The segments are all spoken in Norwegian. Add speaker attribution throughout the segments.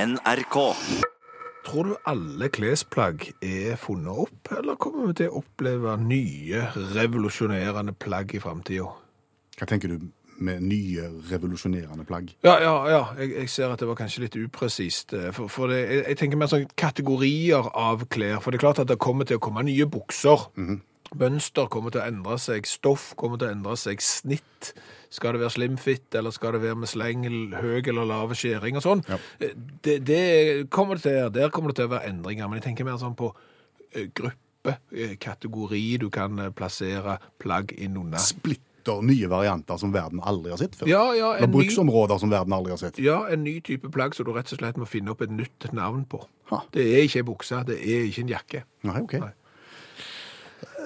Speaker 1: NRK.
Speaker 2: Tror du alle klesplagg er funnet opp, eller kommer vi til å oppleve nye, revolusjonerende plagg i framtida?
Speaker 3: Hva tenker du med nye, revolusjonerende plagg?
Speaker 2: Ja, ja, ja. Jeg, jeg ser at det var kanskje litt upresist. eh, For, for det, jeg, jeg tenker mer sånn kategorier av klær. For det er klart at det kommer til å komme nye bukser. Mønster kommer til å endre seg. Stoff kommer til å endre seg. Snitt. Skal det være slimfit, eller skal det være med slengel, høy eller lave skjæring og sånn?
Speaker 3: Ja.
Speaker 2: Eh, Det, det kommer det til, der kommer det til å være endringer. Men jeg tenker mer sånn på eh, gruppe, eh, kategori du kan eh, plassere plagg innunder.
Speaker 3: Splitter nye varianter som verden aldri har sett før?
Speaker 2: Ja, ja,
Speaker 3: Eller
Speaker 2: en ny-
Speaker 3: bruksområder som verden aldri har sett?
Speaker 2: Ja, en ny type plagg som du rett og slett må finne opp et nytt navn på.
Speaker 3: Ha.
Speaker 2: Det er ikke ei bukse, det er ikke en jakke.
Speaker 3: Nei, ok.
Speaker 2: Nei.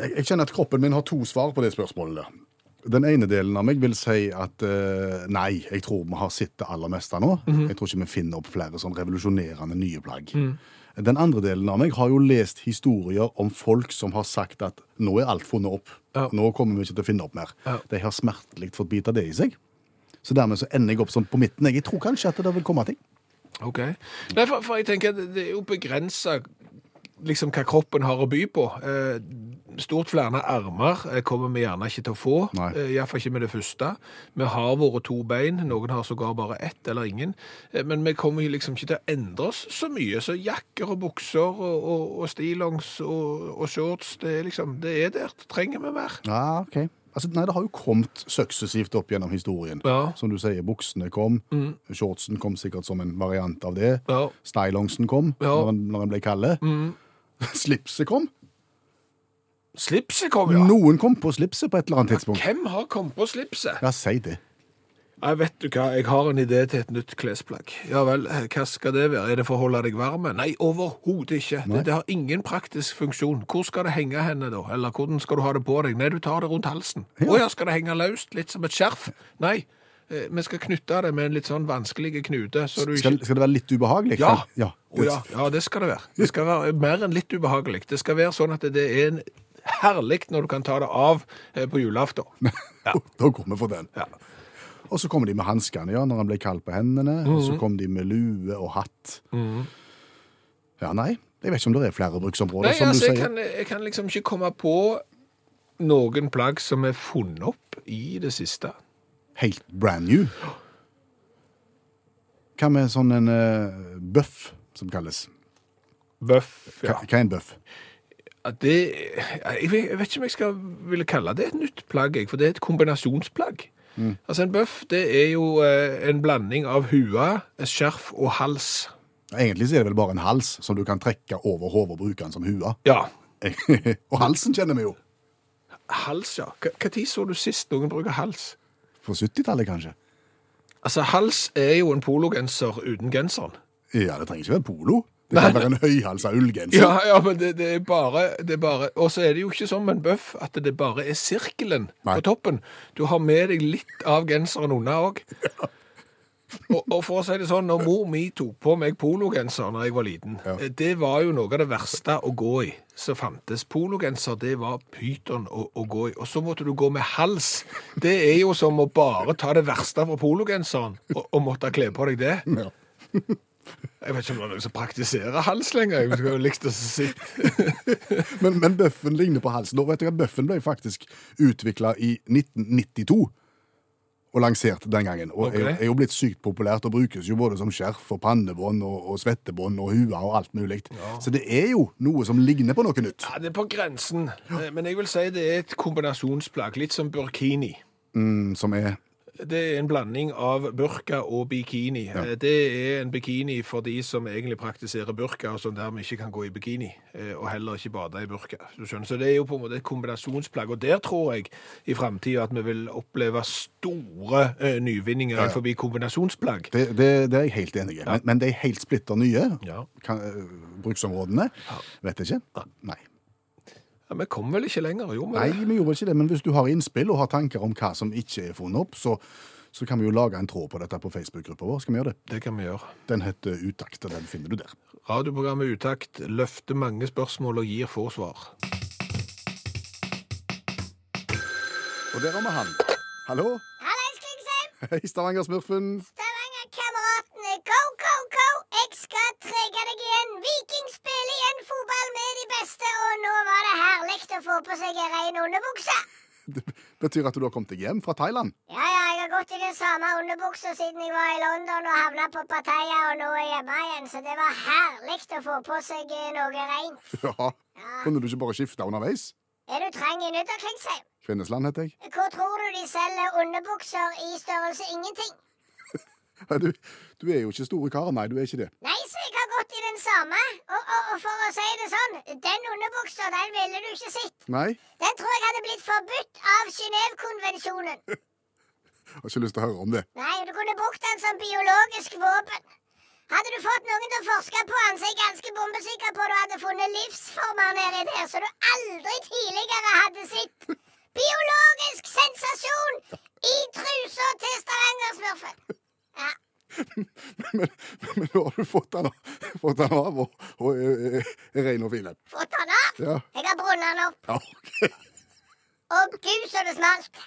Speaker 3: Jeg, jeg kjenner at kroppen min har to svar på det spørsmålet. der. Den ene delen av meg vil si at eh, nei, jeg tror vi har sett det aller meste nå.
Speaker 2: Mhm.
Speaker 3: Jeg tror ikke vi finner opp flere sånn revolusjonerende nye plagg. Den andre delen av meg har jo lest historier om folk som har sagt at nå er alt funnet opp.
Speaker 2: Ja.
Speaker 3: Nå kommer vi ikke til å finne opp mer.
Speaker 2: Ja.
Speaker 3: De har smertelig fått bite det i seg. Så dermed så ender jeg opp sånn på midten. Jeg tror kanskje at det vil komme ting.
Speaker 2: Ok. Nei, for, for jeg tenker at det er jo begrensa liksom, hva kroppen har å by på. Eh, stort flere armer eh, kommer vi gjerne ikke til å få.
Speaker 3: Nei.
Speaker 2: Eh, Iallfall ikke med det første. Vi har våre to bein, noen har sågar bare ett eller ingen. Eh, men vi kommer jo liksom ikke til å endre oss så mye. Så jakker og bukser og, og, og stillongs og, og shorts, det er liksom Det er der. Trenger vi mer?
Speaker 3: Ja, ok. Altså, nei, det har jo kommet suksessivt opp gjennom historien.
Speaker 2: Ja. Mm.
Speaker 3: Som du sier, buksene kom, shortsen kom sikkert som en variant av det.
Speaker 2: Ja.
Speaker 3: Stylongsen kom
Speaker 2: Ja. Mm.
Speaker 3: når, den, når den ble kalde. Slipset kom.
Speaker 2: Slipset kom, ja.
Speaker 3: Noen kom på slipset på et eller annet tidspunkt.
Speaker 2: Hvem har kommet på slipset?
Speaker 3: Ja, si det.
Speaker 2: Jeg vet du hva, jeg har en idé til et nytt klesplagg. Ja vel, eh, hva skal det være? Er det for å holde deg varm? Nei, overhodet ikke. Det, det har ingen praktisk funksjon. Hvor skal det henge henne da? Eller hvordan skal du ha det på deg? Nei, du tar det rundt halsen. Å ja, skal det henge løst? Litt som et skjerf? Nei, eh, vi skal knytte det med en litt sånn vanskelig knute, så du
Speaker 3: Skal,
Speaker 2: ikke
Speaker 3: skal det være litt ubehagelig?
Speaker 2: ja.
Speaker 3: Ja.
Speaker 2: Å ja, ja, det skal det være. Det skal være mer enn litt ubehagelig. Det skal være sånn at det er en herlig når du kan ta det av eh, på julaften.
Speaker 3: Da går vi for den.
Speaker 2: Ja.
Speaker 3: Og så kom de med hanskene, ja, når han ble kald på hendene. Og
Speaker 2: Mm.
Speaker 3: så kom de med lue og hatt. Ja, nei. Jeg vet ikke om det er flere
Speaker 2: Nei,
Speaker 3: bruksområder, som
Speaker 2: altså,
Speaker 3: du
Speaker 2: jeg
Speaker 3: sier.
Speaker 2: kan, jeg kan liksom ikke komme på noen plagg som er funnet opp i det siste.
Speaker 3: helt brand new. Hva med sånn en eh, bøff, som kalles?
Speaker 2: Bøff,
Speaker 3: Hva, hva er en bøff?
Speaker 2: At Det, jeg, vet, jeg vet ikke om jeg skal ville kalle det et nytt plagg, jeg, for det er et kombinasjonsplagg.
Speaker 3: Mm.
Speaker 2: Altså, en bøff, det er jo eh, en blanding av hua, skjerf og hals.
Speaker 3: Egentlig så er det vel bare en hals som du kan trekke over hodet og bruke den som hua.
Speaker 2: Ja,
Speaker 3: og halsen kjenner vi jo.
Speaker 2: hals, ja. Hva- Hva tid så du sist noen bruker hals?
Speaker 3: På 70-tallet, kanskje.
Speaker 2: Altså, hals er jo en pologenser uten genseren.
Speaker 3: Ja, det trenger ikke være polo. Det kan være en høyhalsa ullgenser.
Speaker 2: Ja, ja, men det, det er bare, det er bare Og så er det jo ikke som en bøff at det bare er sirkelen
Speaker 3: Nei.
Speaker 2: på toppen. Du har med deg litt av genseren unna òg. Og, og for å si det sånn, når mor mi tok på meg pologenser da jeg var liten, eh, det var jo noe av det verste å gå i som fantes. Pologenser, det var pyton å, å gå i. Og så måtte du gå med hals. Det er jo som å bare ta det verste fra pologenseren og, og måtte kle på deg det.
Speaker 3: Ja.
Speaker 2: Jeg vet ikke om det er noen som praktiserer hals lenger. Jeg skulle jo likt å sitte
Speaker 3: Men, men bøffen ligner på halsen. Og vet du hva, Bøffen ble faktisk utvikla i 1992. Og lansert den gangen. Og er,
Speaker 2: Ok.
Speaker 3: er jo blitt sykt populært og brukes jo både som skjerf og pannebånd og, og svettebånd og hue og alt mulig. Så det er jo noe som ligner på noe nytt.
Speaker 2: Ja, det er på grensen. Eh, Men jeg vil si det er et kombinasjonsplagg. Litt som burkini.
Speaker 3: Mm, Som er
Speaker 2: Det er en blanding av burka og bikini. Eh, Det er en bikini for de som egentlig praktiserer burka, og som dermed ikke kan gå i bikini. eh, Og heller ikke bade i burka. Du skjønner? Så det er jo på en måte et kombinasjonsplagg. Og der tror jeg i framtida at vi vil oppleve store eh, nyvinninger innenfor kombinasjonsplagg.
Speaker 3: Det, det, det er jeg helt enig i. Men, men de helt splitter nye
Speaker 2: Ja.
Speaker 3: kan, øh, bruksområdene Vet jeg ikke. Nei.
Speaker 2: Ja, vi kom vel ikke lenger, jo?
Speaker 3: Nei,
Speaker 2: Men...
Speaker 3: vi gjorde ikke det. Men hvis du har innspill og har tanker om hva som ikke er funnet opp, så, så kan vi jo lage en tråd på dette på Facebook-gruppa vår. Skal vi gjøre det?
Speaker 2: Det kan vi gjøre.
Speaker 3: Den heter Utakt, og den finner du der.
Speaker 2: Radioprogrammet Utakt løfter mange spørsmål og gir få svar.
Speaker 3: Og der har vi han. Hallo?
Speaker 4: Hallais, Klingsheim!
Speaker 3: Hei, Stavanger-smurfen.
Speaker 4: Stavanger-kameratene, go, go, go! Jeg
Speaker 1: på seg ei rein underbukse.
Speaker 3: Det betyr at du har kommet deg hjem fra Thailand.
Speaker 1: Ja, ja, jeg har gått i den samme underbuksa siden jeg var i London og havna på Pattaya, og nå er jeg hjemme igjen, så det var herlig å få på seg eh, noe reint.
Speaker 3: Ja, Kunne du ikke bare skifte underveis?
Speaker 1: Er du trang i nøtta, Klingsheim?
Speaker 3: Kvinnesland heter jeg.
Speaker 1: Hvor tror du de selger underbukser i størrelse ingenting?
Speaker 3: Nei, Du, du er jo ikke store kar, nei, du er ikke det.
Speaker 1: Nei, så jeg har gått i den samme, og, og, og for å si det sånn, den underbuksa, den ville du ikke sett.
Speaker 3: Nei,
Speaker 1: Den tror jeg hadde blitt forbudt av Genévekonvensjonen.
Speaker 3: har ikke lyst til å høre om det.
Speaker 1: Nei, du kunne brukt den som biologisk våpen. Hadde du fått noen til å forske på den, så er jeg ganske bombesikker på at du hadde funnet livsformer nedi der som du aldri tidligere hadde sett. Biologisk sensasjon i trusa til Stavanger-smurfen. Ja.
Speaker 3: Men, men nå har du fått den, av- fått den av og, og er, er- er ren og fin. en.
Speaker 1: Fått den av?
Speaker 3: Ja.
Speaker 1: Jeg har brunnet den opp.
Speaker 3: Ja, ok.
Speaker 1: Å gud, så det smalt.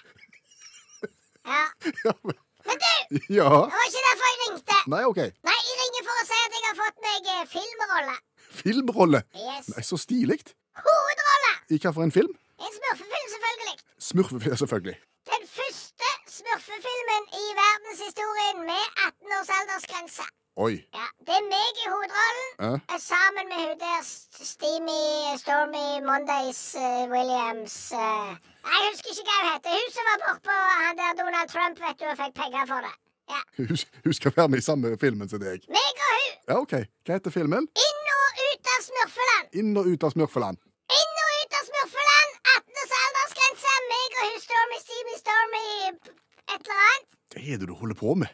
Speaker 1: Ja.
Speaker 3: Ja, men,
Speaker 1: Men du,
Speaker 3: ja.
Speaker 1: det var ikke derfor jeg ringte.
Speaker 3: Nei, OK.
Speaker 1: Nei, jeg ringer for å si at jeg har fått meg eh, filmrolle.
Speaker 3: Filmrolle.
Speaker 1: Yes.
Speaker 3: Nei, Så stilig.
Speaker 1: Hovedrolle!
Speaker 3: I hvilken film?
Speaker 1: En smurfefilm, selvfølgelig.
Speaker 3: Smurfefilm, selvfølgelig.
Speaker 1: Den første smurfefilmen i verdenshistorien med 18 års aldersgrense.
Speaker 3: Oi.
Speaker 1: Ja, det er meg i hovedrollen
Speaker 3: Ja.
Speaker 1: eh, sammen med hun der S- Steamy Stormy Mondays eh, Williams eh. Nei, Jeg husker ikke hva hun heter. Hun som var bortpå han der Donald Trump vet du, og fikk penger for det. Ja.
Speaker 3: Hun, hun skal være med i samme filmen som deg.
Speaker 1: Meg og hun
Speaker 3: Ja, OK. Hva heter filmen?
Speaker 1: inn og ut av smurfeland.
Speaker 3: Inn og ut av Smurfeland.
Speaker 1: Inn og ut av smurfeland! 18 års aldersgrense! Meg og hun Stormy Steamy Stormy p- et eller annet.
Speaker 3: Det er det du holder på med.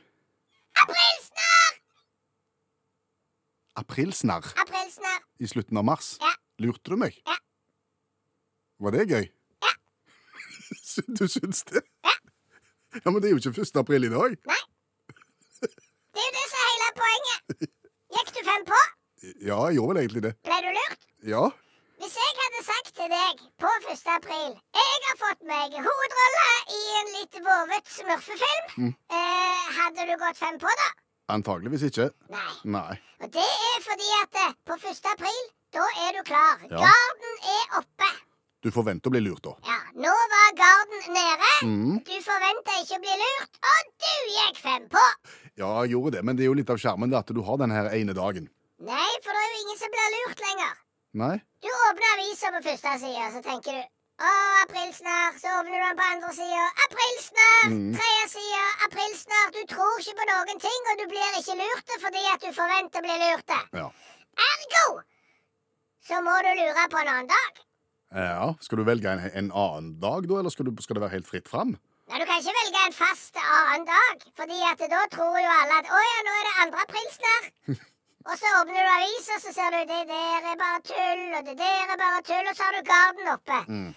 Speaker 1: Aprilsnarr!
Speaker 3: Aprilsnarr
Speaker 1: Aprilsnarr.
Speaker 3: i slutten av mars.
Speaker 1: Ja.
Speaker 3: Lurte du meg?
Speaker 1: Ja.
Speaker 3: Var det gøy?
Speaker 1: Ja.
Speaker 3: Sy- du syns det? Ja. ja. Men det er jo ikke 1. april i dag.
Speaker 1: Nei. Det er jo det som er hele poenget. Gikk du fem på?
Speaker 3: Ja, jeg gjorde vel egentlig det.
Speaker 1: Ble du lurt?
Speaker 3: Ja.
Speaker 1: Hvis jeg hadde sagt til deg på 1. april Jeg har fått meg hovedrolle i en litt vovet smurfefilm, eh, hadde du gått fem på da?
Speaker 3: Antageligvis ikke.
Speaker 1: Nei.
Speaker 3: Nei.
Speaker 1: Og det er fordi at eh, på 1. april, da er du klar.
Speaker 3: Ja.
Speaker 1: Garden er oppe.
Speaker 3: Du forventer å bli lurt, da.
Speaker 1: Ja, nå var garden nede.
Speaker 3: Mhm.
Speaker 1: Du forventa ikke å bli lurt, og du gikk fem på.
Speaker 3: Ja, jeg gjorde det, men det er jo litt av skjermen at du har den her ene dagen.
Speaker 1: Nei, for det er jo ingen som blir lurt lenger.
Speaker 3: Nei?
Speaker 1: Du åpner avisa på første side, så tenker du å, aprilsnarr. Så åpner du den på andre sida. Aprilsnarr.
Speaker 3: Mhm.
Speaker 1: Tredje side. Aprilsnarr. Du tror ikke på noen ting, og du blir ikke lurt fordi at du forventer å bli lurt.
Speaker 3: Ja.
Speaker 1: Ergo så må du lure på en annen dag.
Speaker 3: Ja, Skal du velge en, en annen dag, da, eller skal, du, skal det være helt fritt fram?
Speaker 1: Nei, Du kan ikke velge en fast annen dag, Fordi at da tror jo alle at 'Å ja, nå er det 2. april snart'. og så åpner du avisa, så ser du 'Det der er bare tull', og 'Det der er bare tull', og så har du garden oppe.
Speaker 3: Mm.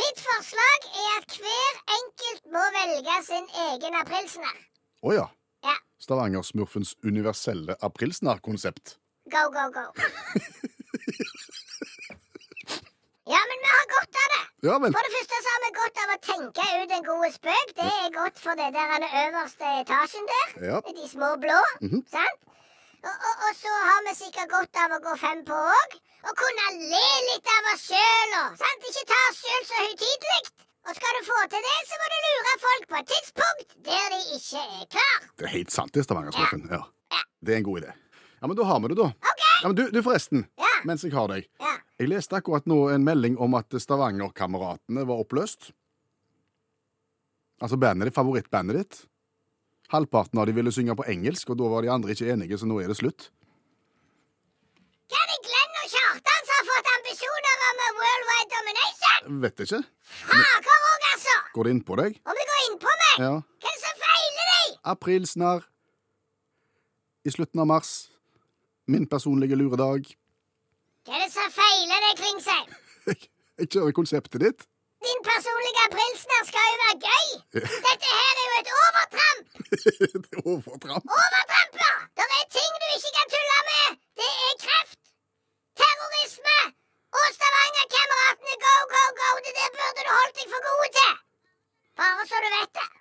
Speaker 1: Mitt forslag er at hver enkelt må velge sin egen aprilsnarr.
Speaker 3: Å ja.
Speaker 1: Ja.
Speaker 3: Stavanger-smurfens universelle aprilsnarr-konsept.
Speaker 1: Go, go, go. ja, men vi har godt av det.
Speaker 3: Ja vel.
Speaker 1: For det første så har vi godt av å tenke ut en god spøk. Det er godt for det der den øverste etasjen der.
Speaker 3: Ja.
Speaker 1: De små blå. Sant? Og, og, og så har vi sikkert godt av å gå fem på òg. Og kunne le litt av oss sjøl og sant? Ikke ta oss sjøl så høytidelig. Og skal du få til det, så må du lure folk på et tidspunkt der de ikke er klar.
Speaker 3: Det er helt sant, det, Stavanger-smurfen. Ja.
Speaker 1: Ja.
Speaker 3: Det er en god idé. Ja, men da har vi det, da.
Speaker 1: OK?
Speaker 3: Ja, men du, du forresten.
Speaker 1: Ja.
Speaker 3: Mens jeg har deg.
Speaker 1: Ja.
Speaker 3: Jeg leste akkurat nå en melding om at Stavanger-kameratene var oppløst. Altså bandet ditt, favorittbandet ditt. Halvparten av de ville synge på engelsk, og da var de andre ikke enige, så nå er det slutt.
Speaker 1: Hva er det Glenn og Kjartan som har fått ambisjoner om worldwide domination?
Speaker 3: Vet ikke.
Speaker 1: Fager òg, altså!
Speaker 3: Går det inn på deg?
Speaker 1: Om det går inn på meg!
Speaker 3: Ja.
Speaker 1: Hva er det som feiler deg?
Speaker 3: April snar. I slutten av mars. Min personlige luredag.
Speaker 1: Hva er det som feiler deg, Klingsheim?
Speaker 3: Jeg, jeg kjører konseptet ditt.
Speaker 1: Din personlige aprilsnarr skal jo være gøy! Dette her er jo et overtramp!
Speaker 3: det er overtramp.
Speaker 1: Overtramper! Det er ting du ikke kan tulle med! Det er kreft, terrorisme og Stavanger-kameratene go, go, go! Det der burde du holdt deg for gode til! Bare så du vet det.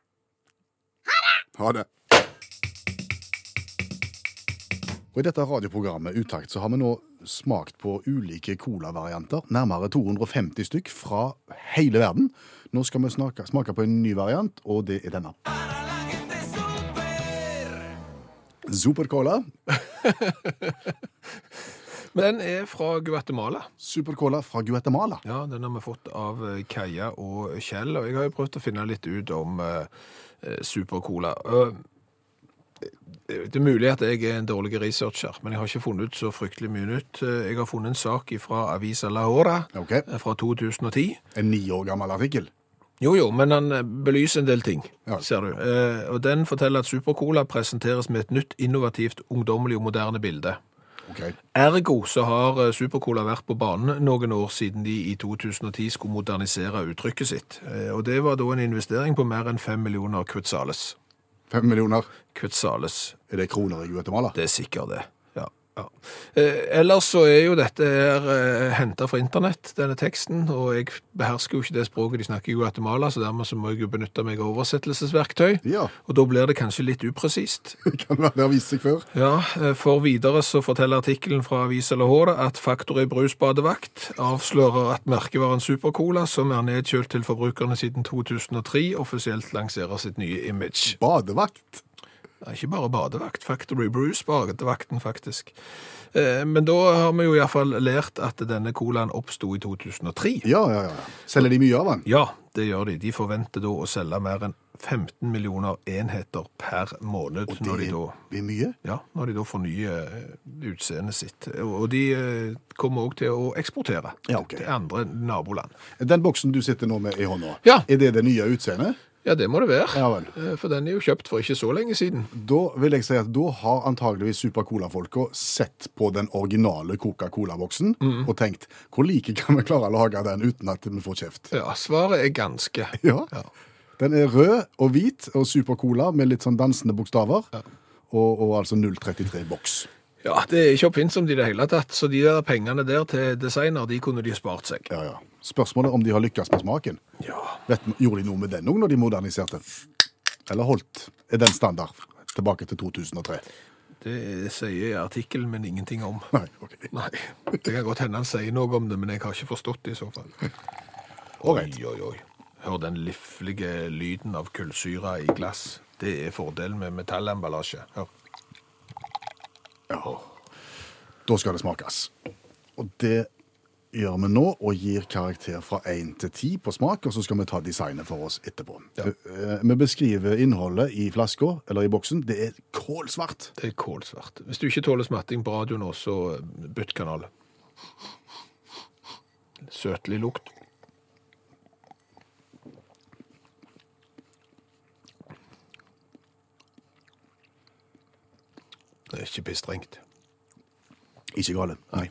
Speaker 1: Ha det!
Speaker 3: Ha det. Og I dette radioprogrammet Utakt så har vi nå smakt på ulike colavarianter. Nærmere 250 stykk fra hele verden. Nå skal vi snake, smake på en ny variant, og det er denne. Supercola.
Speaker 2: Men den er fra Guatemala.
Speaker 3: Supercola fra Guatemala.
Speaker 2: Ja, Den har vi fått av eh, Kaja og Kjell, og jeg har jo prøvd å finne litt ut om eh, eh, Supercola. Eh, det er mulig at jeg er en dårlig researcher, men jeg har ikke funnet ut så fryktelig mye nytt. Eh, Jeg har funnet en sak fra Avisa La Hora
Speaker 3: Ok.
Speaker 2: eh, fra 2010.
Speaker 3: En ni år gammel artikkel.
Speaker 2: Jo, jo, men han belyser en del ting,
Speaker 3: Ja.
Speaker 2: ser du. Eh, og den forteller at Supercola presenteres med et nytt, innovativt, ungdommelig og moderne bilde.
Speaker 3: Ok.
Speaker 2: Ergo så har eh, Supercola vært på banen noen år siden de i 2010 skulle modernisere uttrykket sitt. Eh, Og det var da en investering på mer enn 5 millioner kvitzales.
Speaker 3: Fem millioner.
Speaker 2: Kvitzales,
Speaker 3: Er det kroner i Guatemala?
Speaker 2: det er sikkert det. Ja, ja. Eh, Ellers så er jo dette her henta fra internett, denne teksten, og jeg behersker jo ikke det språket de snakker i Guatemala, så dermed så må jeg jo benytte meg av oversettelsesverktøy.
Speaker 3: Ja.
Speaker 2: Og da blir det kanskje litt upresist.
Speaker 3: Det kan være det har vist seg før.
Speaker 2: Ja, eh, for videre så forteller artikkelen fra Avisa La Hora at Faktor i brusbadevakt avslører at merkevaren Supercola, som er nedkjølt til forbrukerne siden 2003, offisielt lanserer sitt nye image.
Speaker 3: Badevakt.
Speaker 2: Ja, ikke bare badevakt, Factory Brews badevakten faktisk. Eh, Men da har vi jo i hvert fall lært at denne colaen oppsto i 2003.
Speaker 3: Ja, ja, ja. Selger de mye av den?
Speaker 2: Ja, det gjør de. De forventer da å selge mer enn 15 millioner enheter per måned.
Speaker 3: Og
Speaker 2: når
Speaker 3: det
Speaker 2: de da
Speaker 3: blir mye.
Speaker 2: ja, når de da fornyer eh, utseendet sitt. Og og de eh, kommer òg til å eksportere
Speaker 3: Ja, ok.
Speaker 2: til andre naboland.
Speaker 3: Den boksen du sitter nå med i hånda,
Speaker 2: Ja.
Speaker 3: er det det nye utseendet?
Speaker 2: Ja, det må det være.
Speaker 3: Ja vel.
Speaker 2: Eh, For den er jo kjøpt for ikke så lenge siden.
Speaker 3: Da vil jeg si at da har antageligvis Supercola-folka sett på den originale Coca-Cola-boksen
Speaker 2: Mhm.
Speaker 3: og tenkt hvor like kan vi klare å lage den uten at vi får kjeft?
Speaker 2: Ja, svaret er ganske.
Speaker 3: Ja. Den er rød og hvit og Supercola med litt sånn dansende bokstaver. Og, og altså 033-boks.
Speaker 2: Ja, det er ikke oppfinnsomt i det hele tatt, så de der pengene der til designer, de kunne de spart seg.
Speaker 3: Ja, ja. Spørsmålet om de har lykkes med smaken.
Speaker 2: Ja.
Speaker 3: Vet, gjorde de noe med den òg når de moderniserte? Eller holdt er den standard tilbake til 2003?
Speaker 2: Det sier artikkelen min ingenting om.
Speaker 3: Nei, ok.
Speaker 2: Nei, det kan godt hende han sier noe om det, men jeg har ikke forstått det i så fall. Oi,
Speaker 3: Ålreit.
Speaker 2: oi, oi. Hør den liflige lyden av kullsyra i glass. Det er fordelen med metallemballasje. Hør.
Speaker 3: Da skal det smakes. Og det gjør vi nå, og gir karakter fra 1 til 10 på smak, og så skal vi ta designet for oss etterpå.
Speaker 2: Ja.
Speaker 3: Eh, Vi beskriver innholdet i flaska, eller i boksen. Det er kålsvart.
Speaker 2: Det er kålsvart. Hvis du ikke tåler smatting på radio nå, så eh, bytt kanal. Søtlig lukt. Det er ikke pissstrengt.
Speaker 3: Ikke gale. Nei.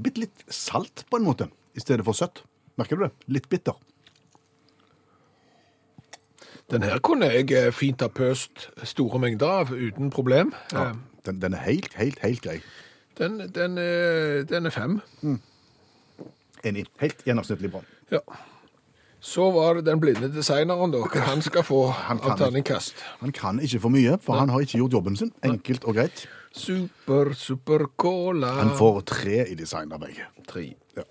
Speaker 3: Bitte litt salt, på en måte, i stedet for søtt. Merker du det? Litt bitter.
Speaker 2: Den her kunne jeg eh, fint ha pøst store mengder av uten problem. Eh,
Speaker 3: Den, den er helt, helt, helt grei.
Speaker 2: Den, den, er, den er fem.
Speaker 3: Enig. Helt gjennomsnittlig bra.
Speaker 2: Ja. Så var det den blinde designeren, da. Hva han skal få
Speaker 3: kan
Speaker 2: av terningkast.
Speaker 3: Han kan ikke for mye, for han har ikke gjort jobben sin. Enkelt og greit.
Speaker 2: Super, super cola.
Speaker 3: Han får tre i designarbeidet.
Speaker 2: tre.
Speaker 3: Ja.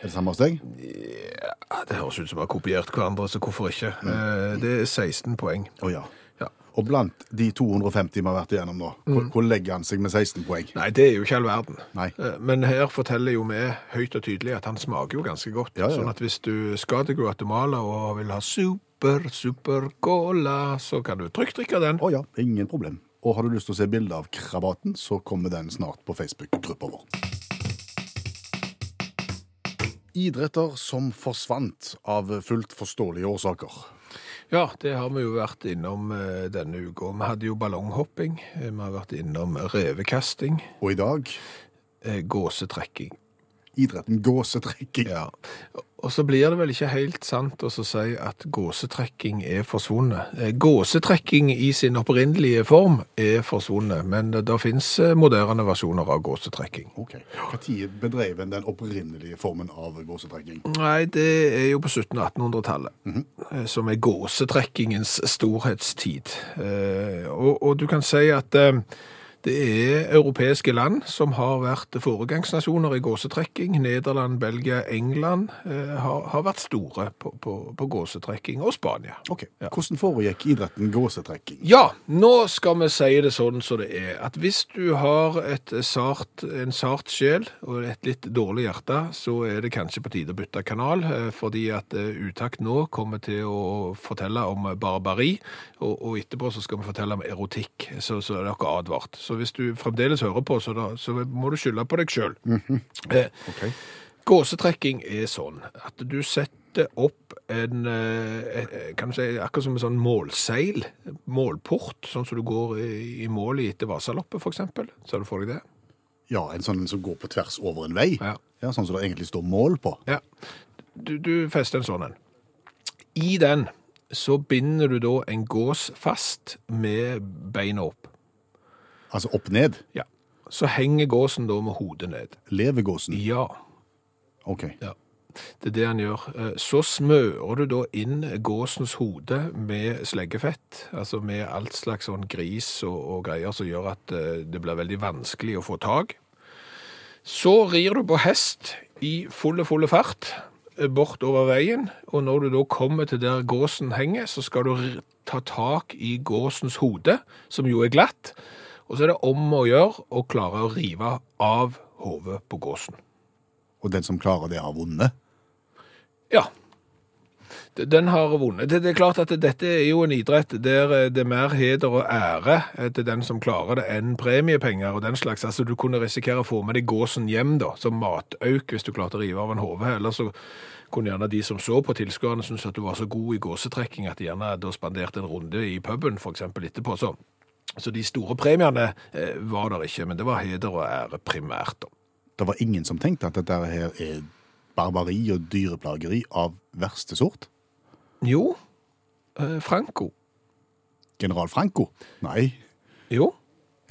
Speaker 3: Er det samme hos deg?
Speaker 2: Ja, det høres ut som vi har kopiert hverandre, så hvorfor ikke?
Speaker 3: Mm.
Speaker 2: Eh, Det er 16 poeng.
Speaker 3: Å ja.
Speaker 2: Ja.
Speaker 3: Og blant de 250 vi har vært igjennom nå, hvor, hvor legger han seg med 16 poeng?
Speaker 2: Mm. Nei, det er jo ikke all verden.
Speaker 3: Nei.
Speaker 2: Eh, Men her forteller jo vi høyt og tydelig at han smaker jo ganske godt.
Speaker 3: Ja, ja, ja.
Speaker 2: Sånn at hvis du skal til Guatemala og vil ha super, super cola, så kan du trygt drikke den.
Speaker 3: Å ja, ingen problem. Og har du lyst til å se bilde av krabaten, så kommer den snart på Facebook-gruppa vår. Idretter som forsvant av fullt forståelige årsaker.
Speaker 2: Ja, det har vi jo vært innom eh, denne uka. Vi hadde jo ballonghopping, eh, vi har vært innom revekasting,
Speaker 3: Og i dag
Speaker 2: eh, gåsetrekking.
Speaker 3: idretten gåsetrekking.
Speaker 2: Ja. Og så blir det vel ikke helt sant å så si at gåsetrekking er forsvunnet. Eh, Gåsetrekking i sin opprinnelige form er forsvunnet, men det finnes eh, moderne versjoner av gåsetrekking.
Speaker 3: Ok. Når bedrev en den opprinnelige formen av gåsetrekking?
Speaker 2: Nei, det er jo på 1700-1800-tallet, eh, som er gåsetrekkingens storhetstid. Eh, Og, og du kan si at eh, det er europeiske land som har vært foregangsnasjoner i gåsetrekking. Nederland, Belgia, England eh, har, har vært store på, på, på gåsetrekking, og Spania.
Speaker 3: Ok. Hvordan foregikk idretten gåsetrekking?
Speaker 2: Ja, nå skal vi si det sånn som det er. At hvis du har et sart, en sart sjel og et litt dårlig hjerte, så er det kanskje på tide å bytte kanal, eh, fordi at eh, Utakt nå kommer til å fortelle om barbari, og, og etterpå så skal vi fortelle om erotikk. Så, så er dere advart. Så hvis du fremdeles hører på, så, da, så må du skylde på deg sjøl. eh,
Speaker 3: Ok.
Speaker 2: Gåsetrekking er sånn at du setter opp en eh, eh, kan du si, akkurat som en sånn målseil, målport, sånn som du går i i mål i etter Vasaloppet, for eksempel. Ser du for deg det?
Speaker 3: Ja, en sånn som går på tvers over en vei.
Speaker 2: Ja.
Speaker 3: Ja, Sånn som det egentlig står mål på.
Speaker 2: Ja. Du, du fester en sånn en. I den så binder du da en gås fast med beina opp.
Speaker 3: Altså opp ned.
Speaker 2: Ja. Så henger gåsen da med hodet ned.
Speaker 3: Levegåsen.
Speaker 2: Ja.
Speaker 3: Ok.
Speaker 2: Ja, det er det han gjør. Eh, Så smører du da inn gåsens hode med sleggefett, altså med alt slags sånn gris og, og greier som gjør at eh, det blir veldig vanskelig å få tak. Så rir du på hest i fulle, fulle fart eh, bort over veien, og når du da kommer til der gåsen henger, så skal du r- ta tak i gåsens hode, som jo er glatt, og så er det om å gjøre å klare å rive av hodet på gåsen.
Speaker 3: Og den som klarer det, har vunnet.
Speaker 2: Ja. D- Den har vunnet. Det, det er klart at dette er jo en idrett der eh, det er mer heder og ære eh, til den som klarer det, enn premiepenger og den slags. Altså, du kunne risikere å få med deg gåsen hjem da, som matauk hvis du klarte å rive av en hode. Eller så kunne gjerne de som så på tilskuerne synes at du var så god i gåsetrekking at de gjerne da spanderte en runde i puben, for eksempel etterpå. Så, så de store premiene eh, var der ikke, men det var heder og ære primært da.
Speaker 3: Det var ingen som tenkte at dette her er barbari og dyreplageri av verste sort.
Speaker 2: Jo, eh, Franco.
Speaker 3: General Franco? Nei.
Speaker 2: Jo.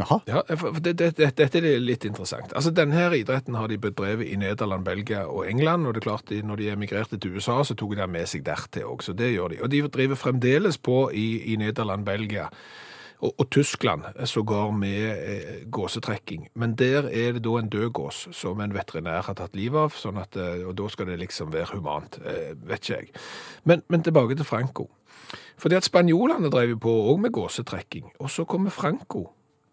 Speaker 3: Jaha.
Speaker 2: Ja, for for det, det, det, dette er litt interessant. Altså, Denne her idretten har de bedrevet i Nederland, Belgia og England. og det er klart de, Når de emigrerte til USA, så tok de den med seg dertil òg. Så det gjør de. Og de driver fremdeles på i, i Nederland, Belgia og, og Tyskland, eh, sågar med eh, gåsetrekking. Men der er det da en død gås som en veterinær har tatt livet av, sånn at, eh, og da skal det liksom være humant. Eh, vet ikke jeg. Men, men tilbake til Franco. Fordi at spanjolene drev jo på òg med gåsetrekking. Og så kommer Franco,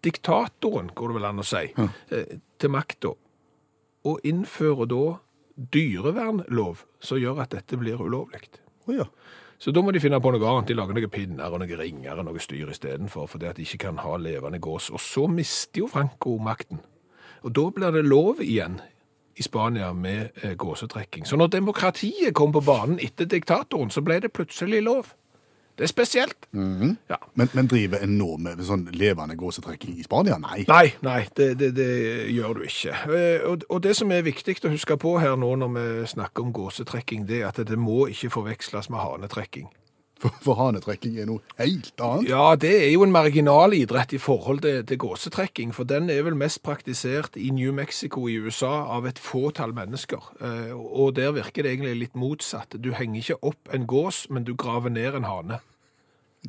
Speaker 2: diktatoren, går det vel an å si, eh, til makta. Og innfører da dyrevernlov som gjør at dette blir ulovlig.
Speaker 3: Å ja.
Speaker 2: Så da må de finne på noe annet. De lager noen pinner og noen ringer og noe styr istedenfor, fordi at de ikke kan ha levende gås. Og så mister jo Franco makten. Og da blir det lov igjen i Spania med eh, gåsetrekking. Så når demokratiet kom på banen etter diktatoren, så ble det plutselig lov. Det er spesielt. ja.
Speaker 3: Men, men driver en nå med sånn levende gåsetrekking i Spania? Nei.
Speaker 2: Nei, nei, det, det, det gjør du ikke. Eh, Og, og det som er viktig å huske på her nå når vi snakker om gåsetrekking, det er at det må ikke forveksles med hanetrekking.
Speaker 3: For, for hanetrekking er noe helt annet.
Speaker 2: Ja, det er jo en marginal idrett i forhold til, til gåsetrekking, for den er vel mest praktisert i New Mexico i USA av et fåtall mennesker. Eh, Og der virker det egentlig litt motsatt. Du henger ikke opp en gås, men du graver ned en hane.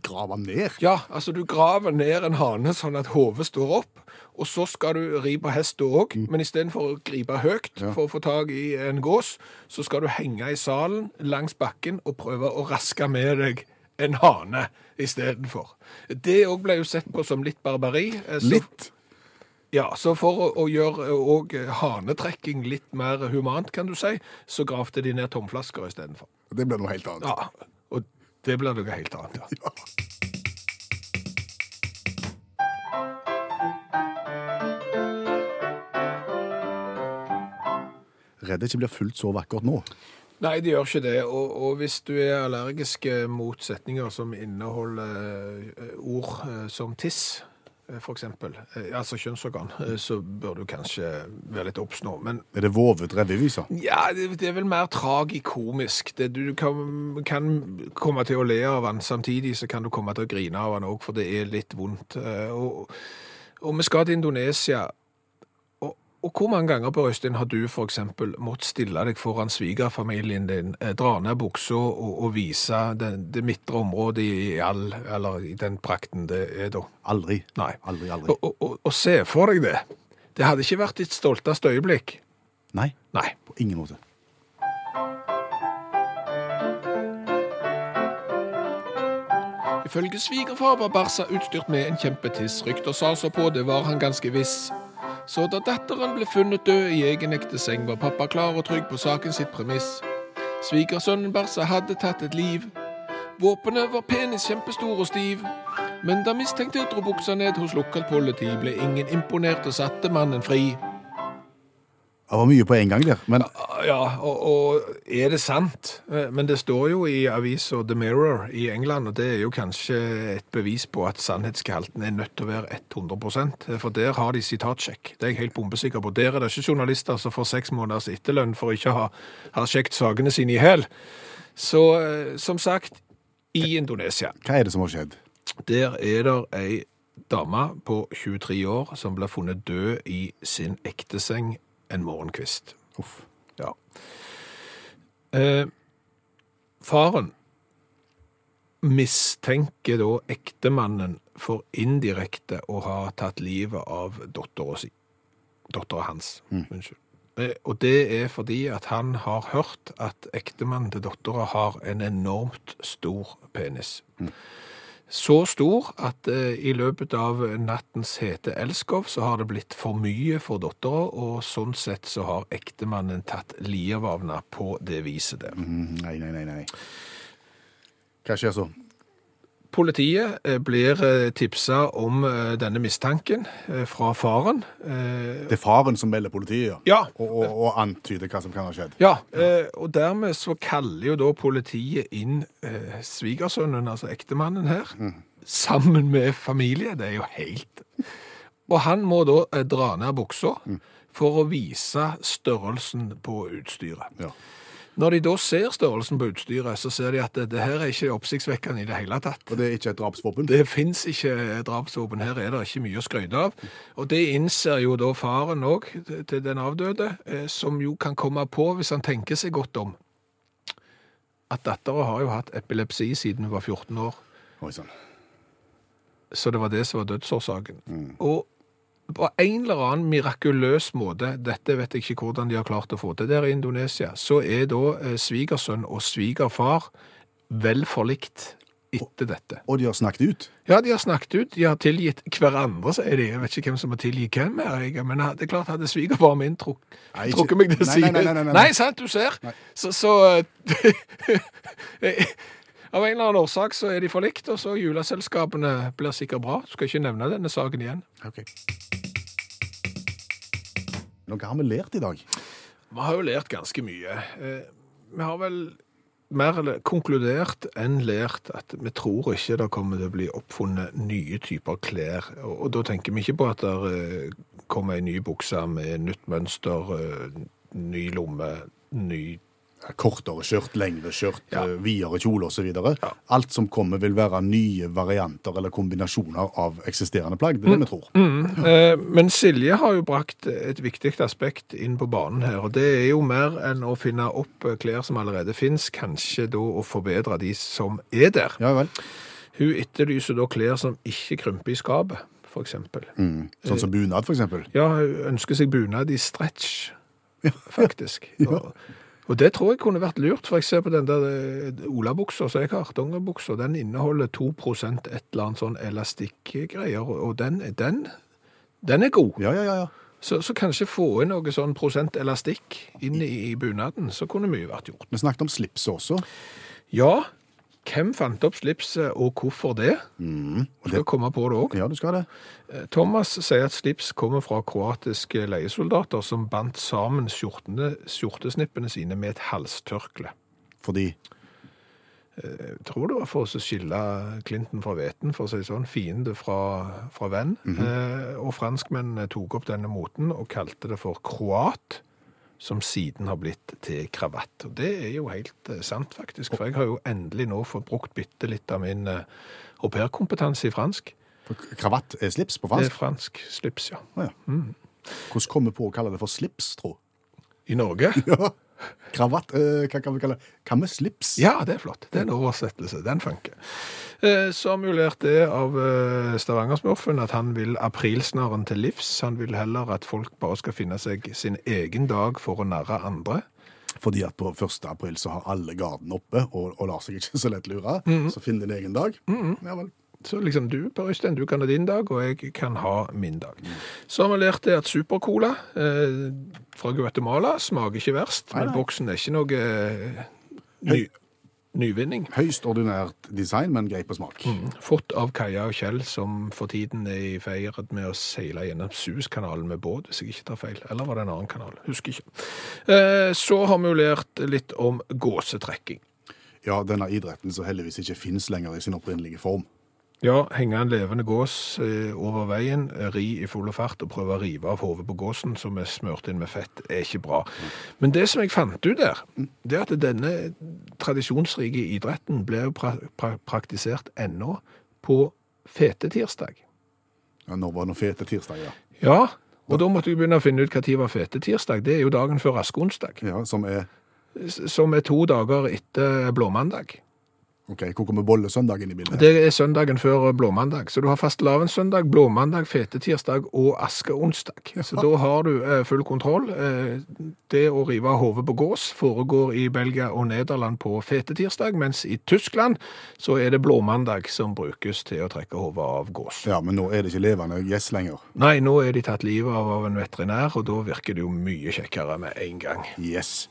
Speaker 3: Grave ned.
Speaker 2: Ja, altså du graver ned en hane sånn at hodet står opp, og så skal du ri på hest òg, men istedenfor å gripe høyt for å få tak i en gås, så skal du henge i salen langs bakken og prøve å raske med deg en hane istedenfor. Det òg ble jo sett på som litt barbari. eh, så-
Speaker 3: Litt.
Speaker 2: ja, så for å, å gjøre òg hanetrekking litt mer humant, kan du si, så gravde de ned tomflasker istedenfor.
Speaker 3: Det blir noe helt annet.
Speaker 2: Ja, og det blir noe helt annet, ja.
Speaker 3: Redd det ikke blir fullt så vakkert nå.
Speaker 2: Nei, det gjør ikke det. Og, og hvis du er allergisk eh, mot setninger som inneholder eh, ord eh, som tiss, eh, for eksempel, eh, altså kjønnsorgan, eh, så bør du kanskje være litt obs nå. Men
Speaker 3: Er det vovet revyvise?
Speaker 2: ja, det, det er vel mer tragikomisk. Det, du kan, kan komme til å le av han samtidig, så kan du komme til å grine av han òg, for det er litt vondt. Eh, Og, og vi skal til Indonesia. Og, og hvor mange ganger på Øystein har du f.eks. måttet stille deg foran svigerfamilien din, eh, dra ned buksa og, og vise det, det midtre området i all, eller i den prakten det er da?
Speaker 3: Aldri.
Speaker 2: Nei.
Speaker 3: Aldri, aldri.
Speaker 2: Og, og, og, og se for deg det. Det hadde ikke vært ditt stolteste øyeblikk.
Speaker 3: Nei,
Speaker 2: Nei.
Speaker 3: på ingen måte.
Speaker 2: Ifølge svigerfar var Barca utstyrt med en kjempetiss. Rykter sa så på, det var han ganske viss. Så da datteren ble funnet død i egen ekte seng, var pappa klar og trygg på saken sitt premiss. Svigersønnen Barca hadde tatt et liv. Våpenet var penis kjempestor og stiv. Men da mistenkte dro buksa ned hos lokalt politi, ble ingen imponert og satte mannen fri.
Speaker 3: Det var mye på en gang der, men
Speaker 2: Ja, og, og er det sant? Eh, Men det står jo i avisa The Mirror i England, og det er jo kanskje et bevis på at sannhetsgehalten er nødt til å være 100 For der har de sitatsjekk. Det er jeg helt bombesikker på. Der er det ikke journalister som får seks måneders etterlønn for ikke å ha, ha sjekket sakene sine i hæl. Så eh, som sagt, i Indonesia.
Speaker 3: hva er det som har skjedd?
Speaker 2: Der er det ei dame på 23 år som ble funnet død i sin ekteseng en morgenkvist.
Speaker 3: Uff.
Speaker 2: Ja. Eh, faren mistenker da ektemannen for indirekte å ha tatt livet av dattera si. Dattera hans. Unnskyld. Eh, og det er fordi at han har hørt at ektemannen til dattera har en enormt stor penis. Så stor at eh, i løpet av nattens hete elskov så har det blitt for mye for dattera, og sånn sett så har ektemannen tatt livet av henne på det viset der.
Speaker 3: Mm, Nei, nei, nei, nei. Hva skjer så?
Speaker 2: Politiet eh, blir eh, tipsa om eh, denne mistanken eh, fra faren. Eh,
Speaker 3: Det er faren som melder politiet, ja.
Speaker 2: Ja.
Speaker 3: Og, og, og antyder hva som kan ha skjedd.
Speaker 2: Ja, eh, og dermed så kaller jo da politiet inn eh, svigersønnen, altså ektemannen her, sammen med familie. Det er jo helt Og han må da eh, dra ned buksa for å vise størrelsen på utstyret.
Speaker 3: Ja.
Speaker 2: Når de da ser størrelsen på utstyret, så ser de at det, det her er ikke oppsiktsvekkende i det hele tatt.
Speaker 3: Og det er ikke et drapsvåpen?
Speaker 2: Det fins ikke eh, drapsvåpen. Her er det ikke mye å skryte av. Og det innser jo da faren òg til den avdøde, eh, som jo kan komme på, hvis han tenker seg godt om, at dattera har jo hatt epilepsi siden hun var 14 år.
Speaker 3: Oi sånn. sann.
Speaker 2: Så det var det som var dødsårsaken. Og på en eller annen mirakuløs måte, dette vet jeg ikke hvordan de har klart å få til der i Indonesia, så er da eh, svigersønn og svigerfar vel forlikt etter dette.
Speaker 3: Og de har snakket ut?
Speaker 2: Ja, de har snakket ut, de har tilgitt hverandre, sier de. Jeg vet ikke hvem som har tilgitt hvem her, jeg. men eh, det er klart hadde svigerfaren min truk,
Speaker 3: Nei, ikke-
Speaker 2: trukket meg til
Speaker 3: Nei,
Speaker 2: side
Speaker 3: nei, nei, nei, nei, nei.
Speaker 2: sant, du ser. Så, så eh, Av en eller annen årsak så er de forlikt, og så juleselskapene blir sikkert bra. Skal ikke nevne denne saken igjen.
Speaker 3: Ok. Noe har vi lært i dag.
Speaker 2: Vi har jo lært ganske mye. Eh, Vi har vel mer eller konkludert enn lært at vi tror ikke det kommer til å bli oppfunnet nye typer klær. Og, og da tenker vi ikke på at det eh, kommer ei ny bukse med nytt mønster, eh, ny lomme, ny
Speaker 3: Kortere skjørt, lengre skjørt,
Speaker 2: Ja.
Speaker 3: eh, videre kjole osv. Alt som kommer, vil være nye varianter eller kombinasjoner av eksisterende plagg.
Speaker 2: Mm.
Speaker 3: Det er det vi tror.
Speaker 2: Eh, Men Silje har jo brakt et viktig aspekt inn på banen her, og det er jo mer enn å finne opp eh, klær som allerede finnes, kanskje da å forbedre de som er der.
Speaker 3: Ja vel.
Speaker 2: Hun etterlyser da klær som ikke krymper i skapet, for eksempel. Eh.
Speaker 3: Sånn som bunad, for eksempel.
Speaker 2: Ja, hun ønsker seg bunad i stretch, faktisk. Og, og det tror jeg kunne vært lurt, for jeg ser på den der eh, olabuksa som jeg har, dongerbuksa, den inneholder 2 et eller annet sånn elastikkgreier, og den, den, den er god.
Speaker 3: Ja, ja, ja. ja.
Speaker 2: Så, så kanskje få inn noe sånn prosent elastikk inn i, i bunaden, så kunne mye vært gjort.
Speaker 3: Vi snakket om slipset også.
Speaker 2: Ja, hvem fant opp slipset, og hvorfor det? Skal komme på det òg.
Speaker 3: Mm. Ja, du skal det.
Speaker 2: Thomas sier at slips kommer fra kroatiske leiesoldater som bandt sammen skjortene, skjortesnippene sine med et halstørkle.
Speaker 3: Fordi
Speaker 2: jeg tror det var for å skille Clinton fra Veten, for å si det sånn, fiende fra, fra venn. eh, og franskmennene tok opp denne moten og kalte det for kroat, som siden har blitt til kravatt. Og det er jo helt eh, sant, faktisk, for jeg har jo endelig nå fått brukt bitte litt av min eh, au pair-kompetanse i fransk.
Speaker 3: For Kravatt er slips på
Speaker 2: Det Mm. er
Speaker 3: fransk?
Speaker 2: fransk slips, ja.
Speaker 3: Å, ja. Hvordan kom vi på å kalle det for slips, tro?
Speaker 2: I Norge?
Speaker 3: Ja. Kravatt, eh, hva kan vi kalle det? Hva med slips?
Speaker 2: Ja, det er flott. Det er en oversettelse. Den funker. Eh, Så har vi jo lært det av eh, Stavangersmurfen at han vil aprilsnaren til livs. Han vil heller at folk bare skal finne seg sin egen dag for å narre andre.
Speaker 3: Fordi at på 1. april så har alle garden oppe og, og lar seg ikke så lett lure. Så finn din egen dag. Ja vel.
Speaker 2: Så liksom du, Per Øystein, du kan ha din dag, og jeg kan ha min dag. Så har vi lært det at supercola eh, fra Guatemala smaker ikke verst,
Speaker 3: Nei,
Speaker 2: men
Speaker 3: nei.
Speaker 2: boksen er ikke noe eh, ny, nyvinning.
Speaker 3: Høyst ordinært design, men grei på smak.
Speaker 2: Mhm. Fått av Kaja og Kjell, som for tiden er i feiret med å seile gjennom Suezkanalen med båt, hvis jeg ikke tar feil. Eller var det en annen kanal? Husker ikke. Eh, Så har vi jo lært litt om gåsetrekking.
Speaker 3: Ja, denne idretten som heldigvis ikke fins lenger i sin opprinnelige form.
Speaker 2: Ja, henge en levende gås eh, over veien, ri i full fart og prøve å rive av hodet på gåsen som er smørt inn med fett, er ikke bra. Men det som jeg fant ut der, det er at denne tradisjonsrike idretten ble jo pra pra praktisert ennå på fetetirsdag.
Speaker 3: Ja, når var det noen fete tirsdager?
Speaker 2: Ja, og da måtte jeg begynne å finne ut hva tid var fete tirsdag. Det er jo dagen før askeonsdag,
Speaker 3: Ja, som er
Speaker 2: s- som er to dager etter blåmandag.
Speaker 3: OK, hvor kommer bollesøndag inn i bildet?
Speaker 2: Det er søndagen før blåmandag. Så du har fastelavnssøndag, blåmandag, fete tirsdag og askeonsdag. Så da har du eh, full kontroll. Eh, Det å rive av hodet på gås foregår i Belgia og Nederland på fete tirsdag, mens i Tyskland så er det blåmandag som brukes til å trekke hodet av gås.
Speaker 3: Ja, men nå er det ikke levende gjess lenger.
Speaker 2: Nei, nå er de tatt livet av av en veterinær, og da virker det jo mye kjekkere med en gang.
Speaker 3: Yes.